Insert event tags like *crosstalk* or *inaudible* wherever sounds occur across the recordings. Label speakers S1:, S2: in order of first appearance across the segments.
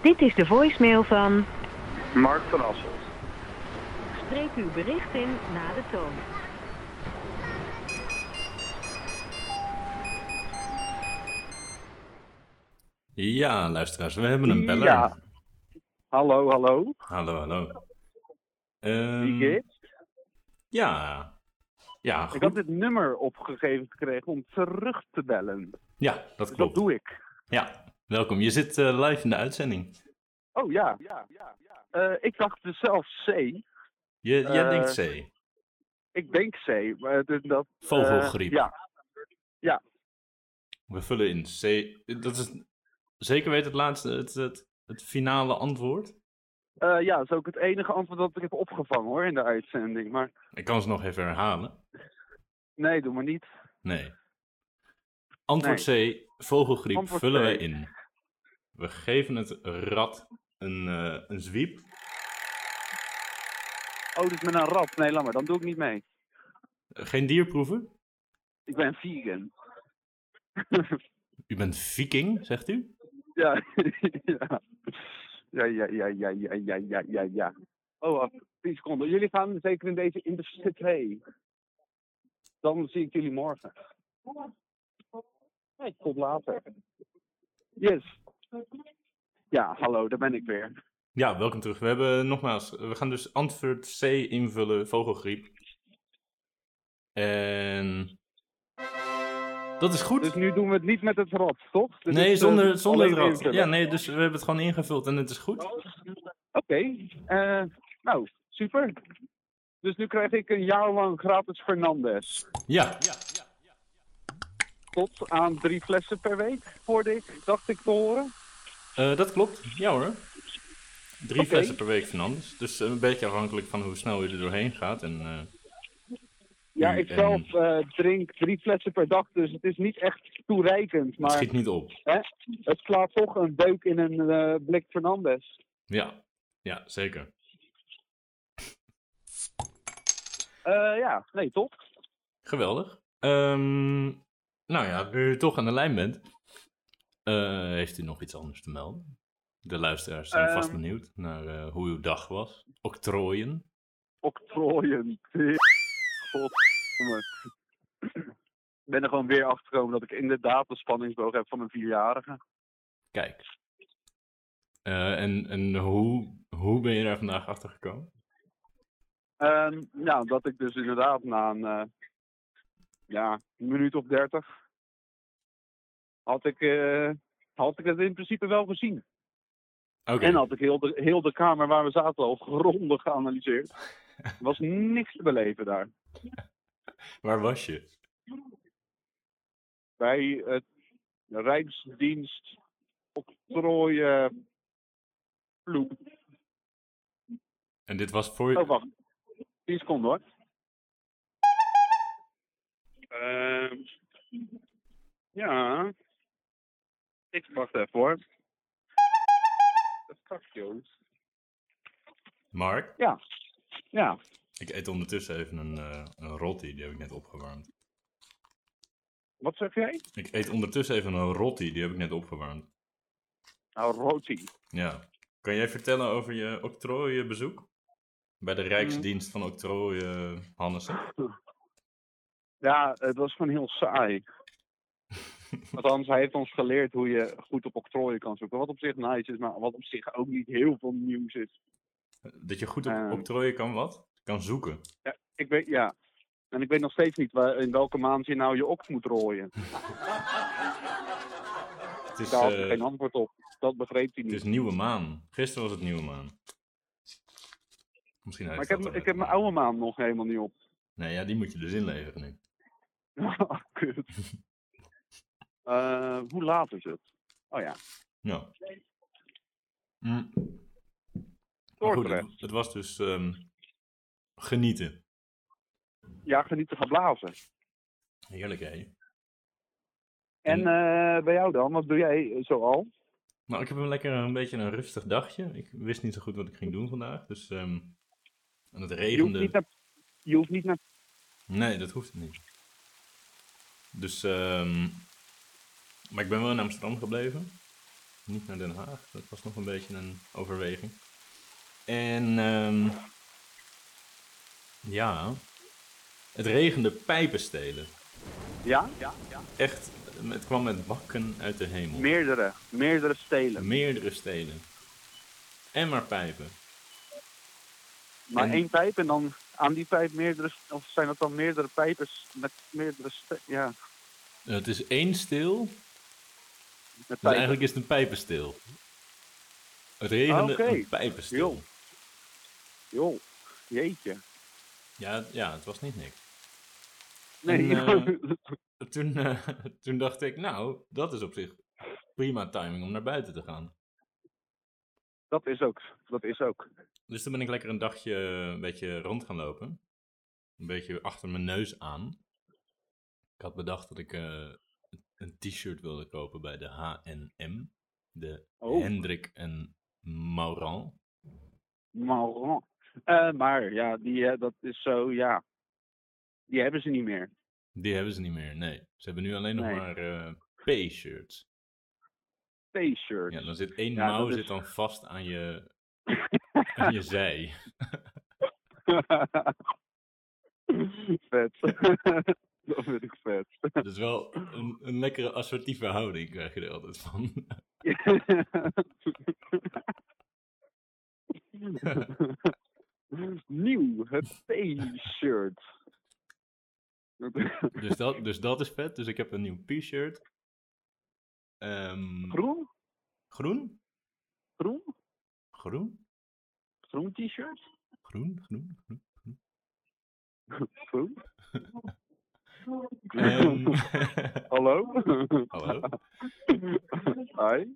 S1: Dit is de voicemail van...
S2: Mark van Asselt.
S1: Spreek uw bericht in na de toon.
S3: Ja, luisteraars, we hebben een beller.
S2: Ja. Hallo, hallo.
S3: Hallo, hallo. Ehm,
S2: Wie geeft?
S3: ja. Ja,
S2: Ik
S3: goed.
S2: had dit nummer opgegeven gekregen om terug te bellen.
S3: ja, dat
S2: Dus
S3: klopt.
S2: dat doe ik.
S3: Ja, welkom. Je zit eh, live in de uitzending.
S2: Oh ja. ja, ja, ja. Eh, ik dacht dus zelf C.
S3: Je, jij
S2: Eh,
S3: denkt C.
S2: Ik denk C. Maar dus dat, eh,
S3: Vogelgriep.
S2: ja.
S3: We vullen in C. Dat is zeker weet het laatste, het, het, het finale antwoord.
S2: Eh, ja, dat is ook het enige antwoord dat ik heb opgevangen hoor in de uitzending. Maar
S3: Ik kan ze nog even herhalen.
S2: nee, doe maar niet.
S3: Nee. Antwoord C, vogelgriep
S2: Antwoord
S3: vullen
S2: C.
S3: wij in. We geven het rad een, eh, een zwiep.
S2: Oh, dus met een rat. Nee, laat maar. Dan doe ik niet mee.
S3: Geen dierproeven.
S2: Ik ben vegan.
S3: U bent viking, zegt u?
S2: Ja. *laughs* ja. Ja, ja, ja, ja, ja, ja, ja, ja, ja. Oh, wacht, 10 seconden. Jullie gaan zeker in deze in de city. Dan zie ik jullie morgen. Nee, tot later. Yes. Ja, hallo, daar ben ik weer.
S3: Ja, welkom terug. We hebben nogmaals, we gaan dus antwoord C invullen, vogelgriep. En dat is goed.
S2: Dus nu doen we het niet met het rad, toch? Dit
S3: nee,
S2: is, eh,
S3: zonder, zonder
S2: alleen
S3: het rad.
S2: invullen. Oh.
S3: Ja, nee, dus we hebben het gewoon ingevuld en het is goed.
S2: Oké, eh, nou, super. Dus nu krijg ik een jaar lang gratis Fernandes.
S3: Ja,
S2: Tot aan drie flessen per week, hoorde ik, dacht ik te horen.
S3: eh, dat klopt. Ja hoor. Drie
S2: Oké.
S3: flessen per week van anders. Dus eh, een beetje afhankelijk van hoe snel je er doorheen gaat. En, eh,
S2: Ja,
S3: Mm,
S2: ik
S3: en-
S2: zelf eh, drink drie flessen per dag, dus het is niet echt toereikend.
S3: het
S2: Maar
S3: schiet niet op.
S2: hè, het slaat toch een deuk in een eh, blik Fernandes.
S3: Ja, ja zeker.
S2: Eh, ja, nee, top.
S3: Geweldig. Ehm, nou ja, nu je toch aan de lijn bent, eh, heeft u nog iets anders te melden? De luisteraars zijn vast
S2: Ehm.
S3: benieuwd naar eh, hoe uw dag was. Octrooien.
S2: Octrooien. Godverdomme. Ik ben er gewoon weer achter gekomen dat ik inderdaad de spanningsboog heb van mijn vierjarige.
S3: Kijk. Eh, en en hoe, hoe ben je daar vandaag achter gekomen?
S2: Ehm, nou, dat ik dus inderdaad na een, eh, ja, een minuut of dertig had ik, eh, had ik het in principe wel gezien.
S3: Oké.
S2: En had ik heel de, heel de kamer waar we zaten al grondig geanalyseerd. Er was niks te beleven daar.
S3: Waar was je?
S2: Bij het Rijksdienst octrooien ploeg.
S3: En dit was voor je.
S2: Oh, wacht. 10 seconden hoor. Ehm, ja. Ik wacht even hoor. Dat fuck, joh.
S3: Mark,
S2: Ja. Ja.
S3: ik eet ondertussen even een, eh een rotti, die heb ik net opgewarmd.
S2: Wat zeg jij?
S3: Ik eet ondertussen even een rotti, die heb ik net opgewarmd.
S2: Nou, roti.
S3: Ja. Kan jij vertellen over je octrooienbezoek? Bij
S2: Mm.
S3: de Rijksdienst van Octrooien, Hannes.
S2: Ja, het was gewoon heel saai. Althans, hij heeft ons geleerd hoe je goed op octrooien kan zoeken. Wat op zich nice is, maar wat op zich ook niet heel veel nieuws is.
S3: Dat je goed op
S2: Ehm.
S3: octrooien kan wat? Kan zoeken.
S2: Ik weet, ja. En ik weet nog steeds niet waar, in welke maand je nou je oks moet rooien.
S3: Het is,
S2: Daar had ik
S3: eh,
S2: geen antwoord op. Dat begreep hij
S3: het
S2: niet.
S3: is nieuwe maan. Gisteren was het nieuwe maan. Misschien
S2: Maar
S3: heeft
S2: ik heb,
S3: dat
S2: m-
S3: wel
S2: ik heb mijn oude maan nog helemaal niet op. *laughs*
S3: Nee, ja, die moet je dus inleveren nu.
S2: Oh,
S3: *laughs*
S2: Kut. Eh, hoe laat is het? Oh ja,
S3: Ja. Nou. Mm. Maar goed,
S2: Dordrecht.
S3: het, het was dus ehm, genieten.
S2: Ja, genieten gaan blazen.
S3: Heerlijk, hè?
S2: En eh, bij jou dan, wat doe jij eh, zoal?
S3: Nou, ik heb een lekker een beetje een rustig dagje. Ik wist niet zo goed wat ik ging doen vandaag. Dus ehm en
S2: Je
S3: het
S2: hoeft,
S3: regende.
S2: niet naar, je hoeft niet naar
S3: Nee, dat hoeft niet. Dus, ehm, maar ik ben wel in Amsterdam gebleven. Niet naar Den Haag. Dat was nog een beetje een overweging. En, ehm, ja, het regende pijpenstelen.
S2: Ja? ja, ja.
S3: Echt, het kwam met bakken uit de hemel.
S2: Meerdere. Meerdere stelen.
S3: Meerdere stelen. En maar pijpen.
S2: Maar
S3: En-
S2: één pijp en dan aan die pijp meerdere... Of zijn dat dan meerdere pijpers met meerdere ste- Ja,
S3: Eh, Het is één stil,
S2: met
S3: dus
S2: pijpen.
S3: eigenlijk is het een pijpenstil. Het regende
S2: Ah, Oké.
S3: een pijpenstil.
S2: Joh. Joh, jeetje.
S3: Ja, het- ja, het was niet niks.
S2: Nee,
S3: En, Toen, eh, *laughs* toen dacht ik, nou, dat is op zich prima timing om naar buiten te gaan.
S2: *laughs* dat is ook. Dat is ook.
S3: Dus toen ben ik lekker een dagje eh, een beetje rond gaan lopen. Een beetje achter mijn neus aan. Ik had bedacht dat ik eh, een t-shirt wilde kopen bij de H&M. De
S2: Oh.
S3: Hendrik en Maurant.
S2: Maar, Eh, maar ja, die, eh, dat is zo, ja. Die hebben ze niet meer.
S3: Die hebben ze niet meer, nee. Ze hebben nu alleen nog
S2: Nee.
S3: maar eh, P-shirts.
S2: T-shirt.
S3: Ja, dan zit één
S2: Ja,
S3: mouw
S2: dat is-
S3: zit dan vast aan je, aan je zij.
S2: *laughs* vet. *laughs* dat vind ik vet. *laughs*
S3: Dat is wel een, een lekkere assertieve houding krijg je er altijd van. *laughs*
S2: Nieuw, het T-shirt.
S3: Dus dat, dus dat is vet. Dus ik heb een nieuw P-shirt. Ehm,
S2: *laughs* Groen?
S3: Groen?
S2: Groen?
S3: Groen?
S2: Groen T-shirt?
S3: Groen? Groen? groen.
S2: Groen?
S3: *laughs*
S2: *laughs*
S3: Ehm, *laughs* oh,
S2: Hallo?
S3: hallo?
S2: Hi.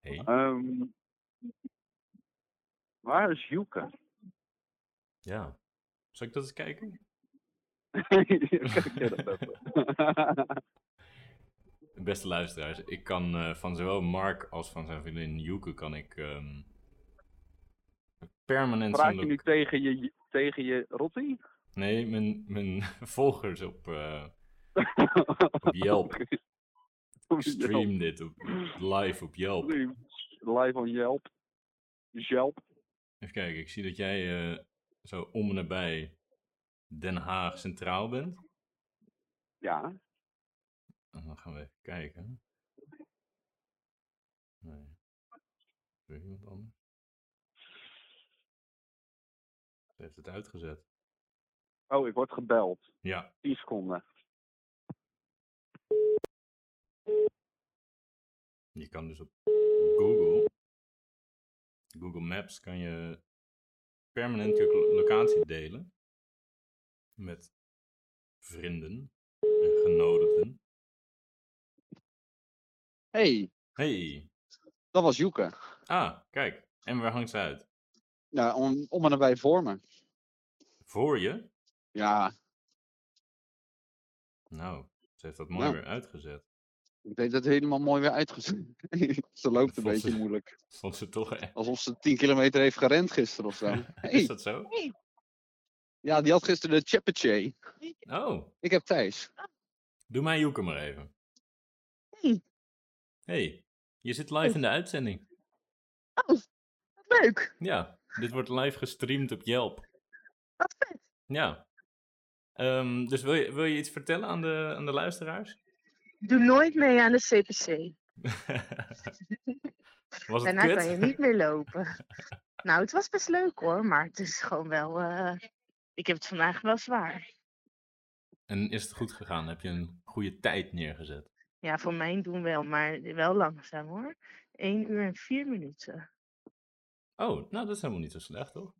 S3: Hey.
S2: Ehm, waar is Joeke? *laughs*
S3: Ja. Zal ik dat eens kijken?
S2: Kijk jij dat even?
S3: Beste luisteraars, ik kan eh, van zowel Mark als van zijn vriendin Joeke kan ik ehm, permanent
S2: Praat
S3: zijn
S2: je nu tegen je, tegen je Rotti?
S3: Nee, mijn, mijn *laughs* volgers op, eh, op
S2: *laughs*
S3: Yelp. Ik stream dit op, live op Yelp.
S2: Stream. Live on Yelp. Yelp.
S3: Even kijken, ik zie dat jij eh, zo om en nabij Den Haag Centraal bent.
S2: Ja.
S3: En dan gaan we even kijken. Nee. Is er iemand anders? Ze heeft het uitgezet.
S2: Oh, ik word gebeld.
S3: Ja,
S2: 10 seconden.
S3: je kan dus op Google, Google Maps, kan je permanent je lo- locatie delen met vrienden en genodigden.
S2: hey,
S3: Hey,
S2: dat was Joeke.
S3: ah, kijk, en waar hangt ze uit?
S2: Nou, om, om en nabij voor me.
S3: Voor je?
S2: Ja,
S3: Nou, ze heeft dat mooi
S2: Nou.
S3: weer uitgezet.
S2: ik deed dat helemaal mooi weer uitgezet. *laughs* ze loopt een
S3: Vond
S2: beetje
S3: ze-
S2: moeilijk.
S3: Vond ze toch echt?
S2: Alsof ze 10 kilometer heeft gerend gisteren
S3: *laughs*
S2: of zo.
S3: Is
S2: Hey,
S3: dat zo?
S2: ja, die had gisteren de Chepache.
S3: Oh,
S2: Ik heb Thijs.
S3: doe mij Joeke maar even.
S4: Hey.
S3: Hey, je zit live in de uitzending.
S4: Leuk.
S3: Ja, dit wordt live gestreamd op Yelp.
S4: Wat vet.
S3: Ja. Ehm, dus wil je, wil je iets vertellen aan de, aan de luisteraars? *laughs*
S4: Doe nooit mee aan de CPC.
S3: Was het
S4: Daarna kan je
S3: kut?
S4: niet meer lopen. nou, het was best leuk hoor, maar het is gewoon wel. eh, ik heb het vandaag wel zwaar.
S3: En is het goed gegaan? Heb je een goede tijd neergezet?
S4: Ja, voor mijn doen wel, maar wel langzaam hoor. 1 uur en 4 minuten.
S3: Oh, nou dat is helemaal niet zo slecht, toch?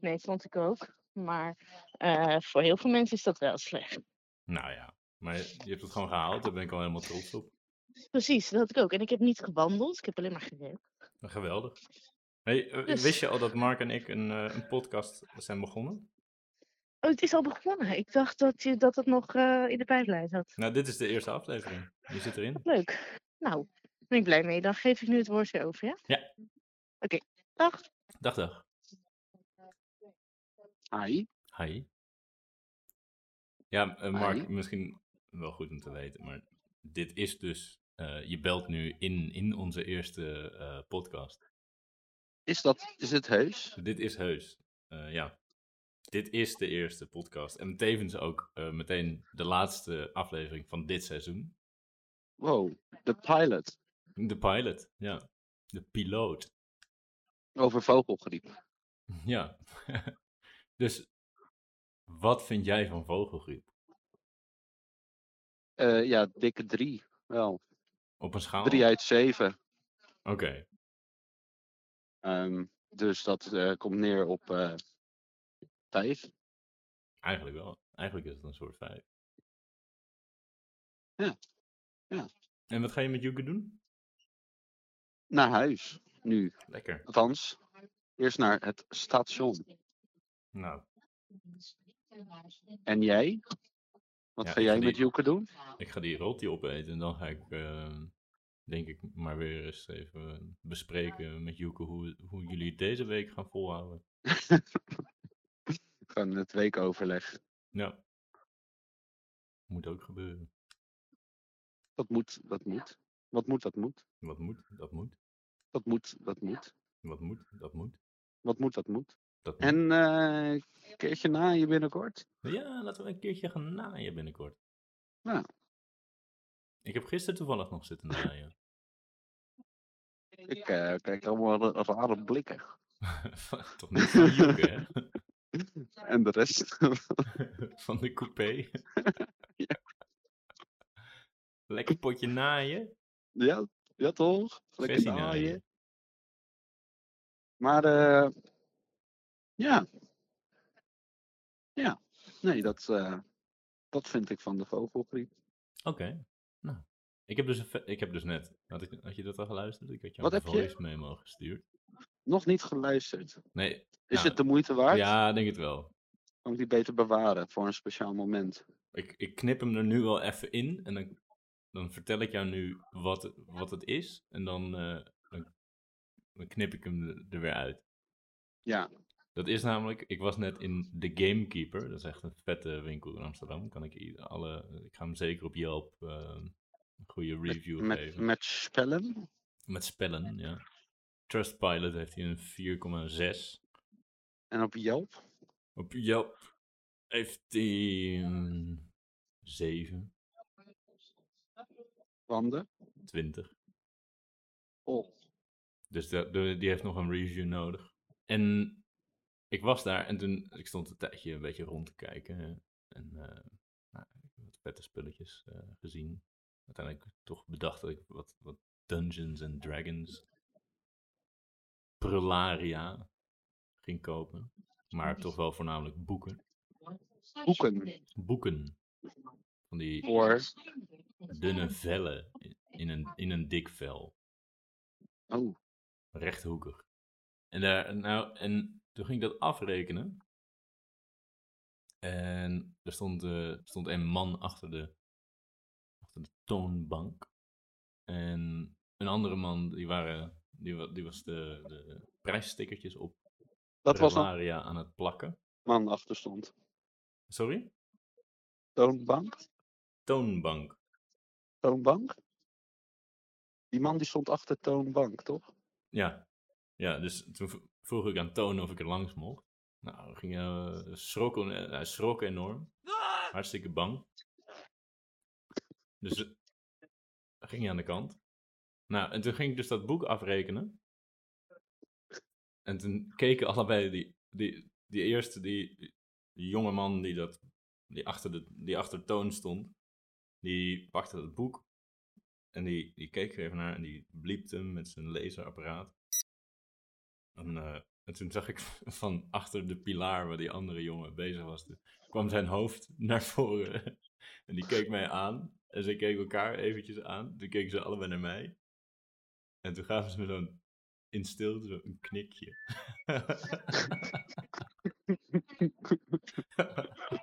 S4: Nee, vond ik ook. Maar eh, voor heel veel mensen is dat wel slecht.
S3: Nou ja, maar je hebt het gewoon gehaald. Daar ben ik al helemaal trots op.
S4: Precies, dat had ik ook. En ik heb niet gewandeld, ik heb alleen maar gereden.
S3: Geweldig. Hey, eh,
S4: Dus-
S3: Wist je al dat Mark en ik een, eh, een podcast zijn begonnen?
S4: Oh, het is al begonnen. Ik dacht dat je dat het nog eh, in de pijplijn zat.
S3: Nou, dit is de eerste aflevering. Je zit erin.
S4: Leuk. Nou, ben ik blij mee. Dan geef ik nu het woordje over, ja?
S3: Ja.
S4: Oké, dag.
S3: Dag, dag.
S2: Hi.
S3: Hi. Ja, eh,
S2: Maar
S3: Mark,
S2: niet.
S3: misschien wel goed om te weten, maar dit is dus, eh, je belt nu in, in onze eerste eh, podcast.
S2: Is dat, is het heus?
S3: Dit is heus, Eh, ja. Dit is de eerste podcast en tevens ook eh, meteen de laatste aflevering van dit seizoen.
S2: Wow, de pilot
S3: De pilot, ja. De piloot,
S2: over vogelgriep.
S3: ja. dus, wat vind jij van vogelgriep?
S2: Eh, ja, dikke drie. Wel,
S3: Op een schaal?
S2: drie uit zeven.
S3: Oké,
S2: Ehm, dus dat eh, komt neer op eh, vijf.
S3: eigenlijk wel. Eigenlijk is het een soort vijf.
S2: Ja, ja.
S3: En wat ga je met Joeken doen?
S2: Naar huis, nu.
S3: Lekker.
S2: Althans, eerst naar het station.
S3: Nou,
S2: En jij? Wat
S3: Ja,
S2: ga
S3: ik
S2: jij
S3: ga
S2: met
S3: die-
S2: Joeke doen?
S3: ik ga die roti opeten en dan ga ik, eh, denk ik, maar weer eens even bespreken met Joeken hoe, hoe jullie het deze week gaan volhouden.
S2: Van het weekoverleg.
S3: Ja. Moet ook gebeuren.
S2: Dat moet, dat moet. Wat moet, dat moet.
S3: Wat moet, dat moet.
S2: Dat moet, dat moet.
S3: Wat moet, dat moet.
S2: Wat moet, dat moet.
S3: Dat moet.
S2: En eh, een keertje na je binnenkort.
S3: Ja, laten we een keertje gaan naaien binnenkort.
S2: Ja.
S3: Ik heb gisteren toevallig nog zitten naaien. *laughs*
S2: Ik eh, kijk allemaal ra- rare blikken.
S3: Toch niet van Joeken, hè? *laughs*
S2: En de rest. *laughs*
S3: van de coupé. Lekker potje naaien.
S2: ja, ja toch? Lekker
S3: Versie
S2: naaien.
S3: naaien.
S2: Maar eh, ja. Ja. Nee, dat, eh, dat vind ik van de vogelgriep.
S3: Oké. Nou. Ik heb, dus een ve- ik heb dus net, had, ik, had je dat al geluisterd? Ik had jou
S2: Wat
S3: een
S2: heb je?
S3: voice memo gestuurd.
S2: Nog niet geluisterd.
S3: Nee,
S2: Is
S3: Nou,
S2: het de moeite waard?
S3: ja, denk het wel.
S2: Kan ik die beter bewaren voor een speciaal moment?
S3: Ik, ik knip hem er nu wel even in en dan, dan vertel ik jou nu wat, het- wat het is. En dan, eh, dan, dan knip ik hem er- er weer uit.
S2: Ja.
S3: Dat is namelijk, ik was net in The Gamekeeper. Dat is echt een vette winkel in Amsterdam. Kan ik, i- alle, ik ga hem zeker op Yelp eh, een goede review
S2: Met,
S3: geven.
S2: met spellen?
S3: Met spellen, ja. Trustpilot heeft hij een 4,6.
S2: En op Yelp?
S3: Op Yelp heeft hij een 7,
S2: Wanden?
S3: 20.
S2: Oh,
S3: Dus da- de- die heeft nog een review nodig. En ik was daar en toen, dus ik stond een tijdje een beetje rond te kijken. En eh, nou, ik heb wat vette spulletjes eh, gezien. Uiteindelijk toch bedacht dat ik wat, wat Dungeons and Dragons, Prularia ging kopen. Maar toch wel voornamelijk boeken.
S2: boeken.
S3: boeken. Van die
S2: Voor.
S3: dunne vellen i- in een, in een dik vel.
S2: Oh,
S3: Rechthoekig. En, daar, nou, en toen ging ik dat afrekenen. En er stond, eh, stond een man achter de, achter de toonbank. En een andere man, die, waren, die, wa- die was de, de prijsstickertjes op
S2: dat was een
S3: Prelaria aan het plakken.
S2: man achter stond.
S3: Sorry?
S2: Toonbank?
S3: Toonbank.
S2: Toonbank? Die man die stond achter Toonbank, toch?
S3: Ja. ja, dus toen v- vroeg ik aan Toon of ik er langs mocht. Nou, we gingen, eh, schrok, on- eh, hij schrok enorm. Hartstikke bang. Dus eh, ging hij aan de kant. Nou, en toen ging ik dus dat boek afrekenen. En toen keken allebei die, die, die eerste, die, die jonge man die, dat, die, achter de, die achter Toon stond, die pakte dat boek en die, die keek er even naar en die bliepte hem met zijn laserapparaat. En, eh, en toen zag ik *laughs* van achter de pilaar waar die andere jongen bezig was, toen kwam zijn hoofd *laughs* naar voren. En die keek mij aan. En ze keken elkaar eventjes aan. Toen keken ze allebei naar mij. En toen gaven ze me zo'n in stilte zo een knikje.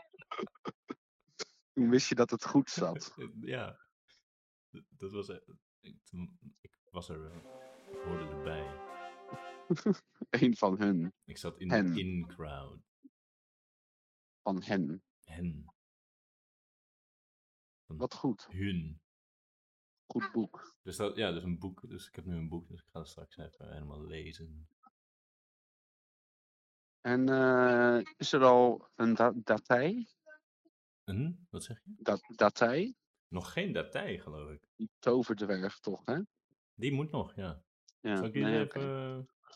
S3: *laughs*
S2: Toen wist je dat het goed *laughs* zat.
S3: Eh, ja, D- dat was. e- Ik, toen- ik was er wel. Ik hoorde erbij.
S2: Eén van hun.
S3: Ik zat in
S2: Hen.
S3: de in-crowd.
S2: Van hen.
S3: Hen.
S2: Wat goed.
S3: Hun.
S2: Goed boek.
S3: Dus dat, ja, dus een boek. Dus ik heb nu een boek, dus ik ga dat straks even helemaal lezen.
S2: En eh, is er al een da- datij?
S3: Een? Wat zeg je?
S2: Dat datij?
S3: Nog geen datij, geloof ik.
S2: Die toverdwerg toch, hè?
S3: Die moet nog, ja.
S2: Ja,
S3: Zal ik die
S2: nee,
S3: even
S2: oké.
S3: eh,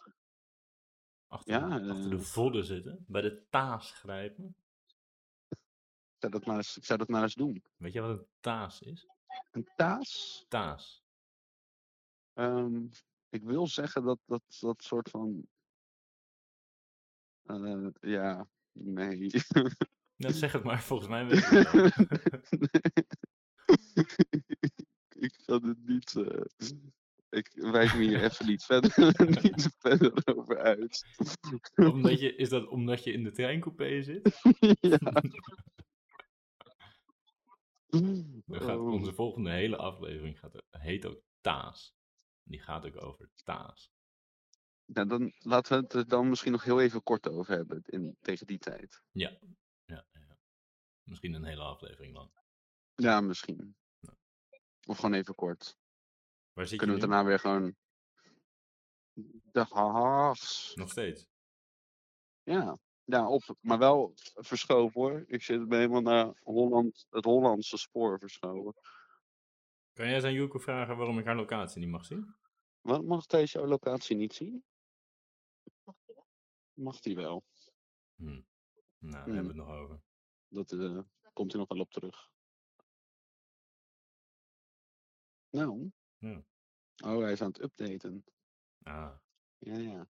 S3: achter,
S2: Ja,
S3: de, achter de
S2: eh.
S3: vodden zitten? Bij de taas grijpen?
S2: Ik zou, dat maar eens, ik zou dat maar eens doen.
S3: Weet je wat een taas is?
S2: Een taas?
S3: Taas.
S2: Ehm, ik wil zeggen dat dat, dat soort van... eh, ja, nee. *laughs*
S3: Nou, zeg het maar, volgens mij weet ik het wel.
S2: *laughs* ik ga het niet... eh, ik wijk me hier even niet verder, *laughs* niet verder over uit. *laughs*
S3: Omdat je, is dat omdat je in de treincoupé zit?
S2: ja.
S3: Dan gaat
S2: Oh.
S3: onze volgende hele aflevering gaat, heet ook Taas. Die gaat ook over Taas.
S2: Nou, dan laten we het er dan misschien nog heel even kort over hebben in, tegen die tijd.
S3: Ja, ja. Misschien een hele aflevering lang.
S2: Ja, misschien. Of gewoon even kort.
S3: Waar zit
S2: Kunnen we
S3: je nu?
S2: daarna weer gewoon. De haags.
S3: Nog steeds.
S2: Ja. ja, op. Maar wel verschoven hoor. Ik zit me helemaal naar Holland, het Hollandse spoor verschoven.
S3: Kan jij eens aan Joeko vragen waarom ik haar locatie niet mag zien?
S2: Wat mag deze jouw locatie niet zien? Mag die wel.
S3: Nou, daar
S2: Hmm.
S3: hebben we het nog over.
S2: Dat eh, komt hij nog wel op terug. Nou.
S3: Ja.
S2: Oh, hij is aan het updaten.
S3: Ah,
S2: Ja, ja.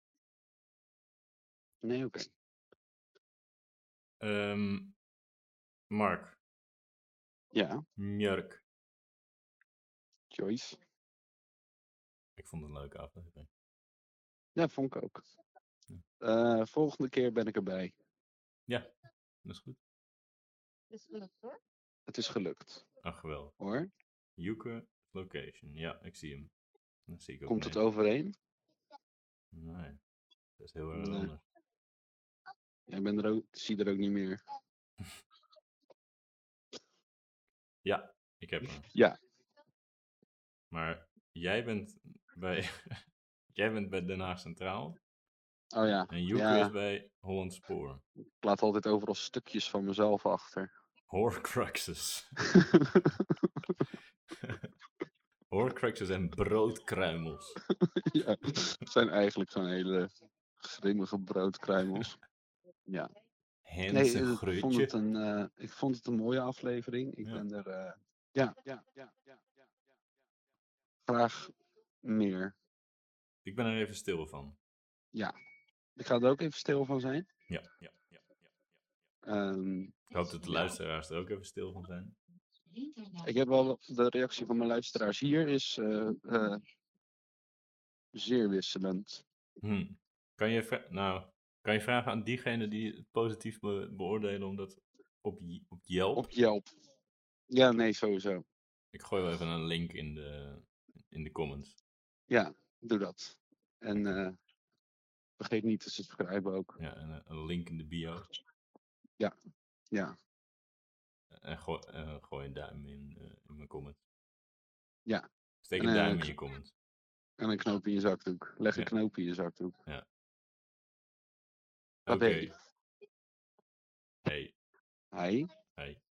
S2: Nee, oké.
S3: ehm, Mark,
S2: Ja,
S3: Mjörk.
S2: Joyce.
S3: Ik vond het een leuke aflevering.
S2: Ja, vond ik ook.
S3: Ja.
S2: Eh, volgende keer ben ik erbij.
S3: Dat is goed.
S4: Dus leuk hoor.
S2: Het is gelukt,
S3: Ach, geweldig.
S2: hoor.
S3: Joeke location. Ja, ik zie hem. Dat zie ik ook
S2: Komt het
S3: mee.
S2: overeen?
S3: Nee. Dat is heel erg
S2: Nee.
S3: anders.
S2: Ik ben er ook, zie er ook niet meer.
S3: Ja, ik heb hem.
S2: Ja.
S3: Maar jij bent bij, *laughs* jij bent bij Den Haag Centraal
S2: Oh ja,
S3: en Joeke
S2: Ja.
S3: is bij Holland Spoor.
S2: ik laat altijd overal stukjes van mezelf achter. *laughs*
S3: Horcruxes. Horcruxes en broodkruimels.
S2: ja, het zijn eigenlijk gewoon hele grimmige broodkruimels. Ja.
S3: Hens
S2: eh,
S3: *laughs* en
S2: ik, vond het
S3: groetje.
S2: een, eh, ik vond het een mooie aflevering. Ik
S3: Ja.
S2: ben er. eh, ja, ja, ja, ja, ja, ja. Graag meer.
S3: Ik ben er even stil van.
S2: Ik ga er ook even stil van zijn.
S3: Ja, ja, ja, ja. ja.
S2: Ehm,
S3: Ik hoop dat de
S2: Ja.
S3: luisteraars er ook even stil van zijn.
S4: uh,
S2: ik heb wel de reactie van mijn luisteraars hier is eh, eh, zeer wisselend.
S3: Hm. Kan, je vra- nou, kan je vragen aan diegene die het positief be- beoordelen omdat op, J- op Yelp...
S2: Op Yelp. Ja, nee, sowieso.
S3: Ik gooi wel even een link in de, in de comments.
S2: Doe dat. En eh, vergeet niet te subscriben ook.
S3: Ja, en een, een link in de bio.
S2: Ja, ja.
S3: En gooi, eh, gooi een duim in, eh, in mijn comment.
S2: Ja.
S3: Steek
S2: En,
S3: een
S2: eh,
S3: duim in
S2: ik-
S3: je comment.
S2: En een knoop in je zakdoek. Leg een
S3: Ja.
S2: knoop in je zakdoek.
S3: Oké.
S2: Oké.
S3: Hey,
S2: Hij.
S3: hey.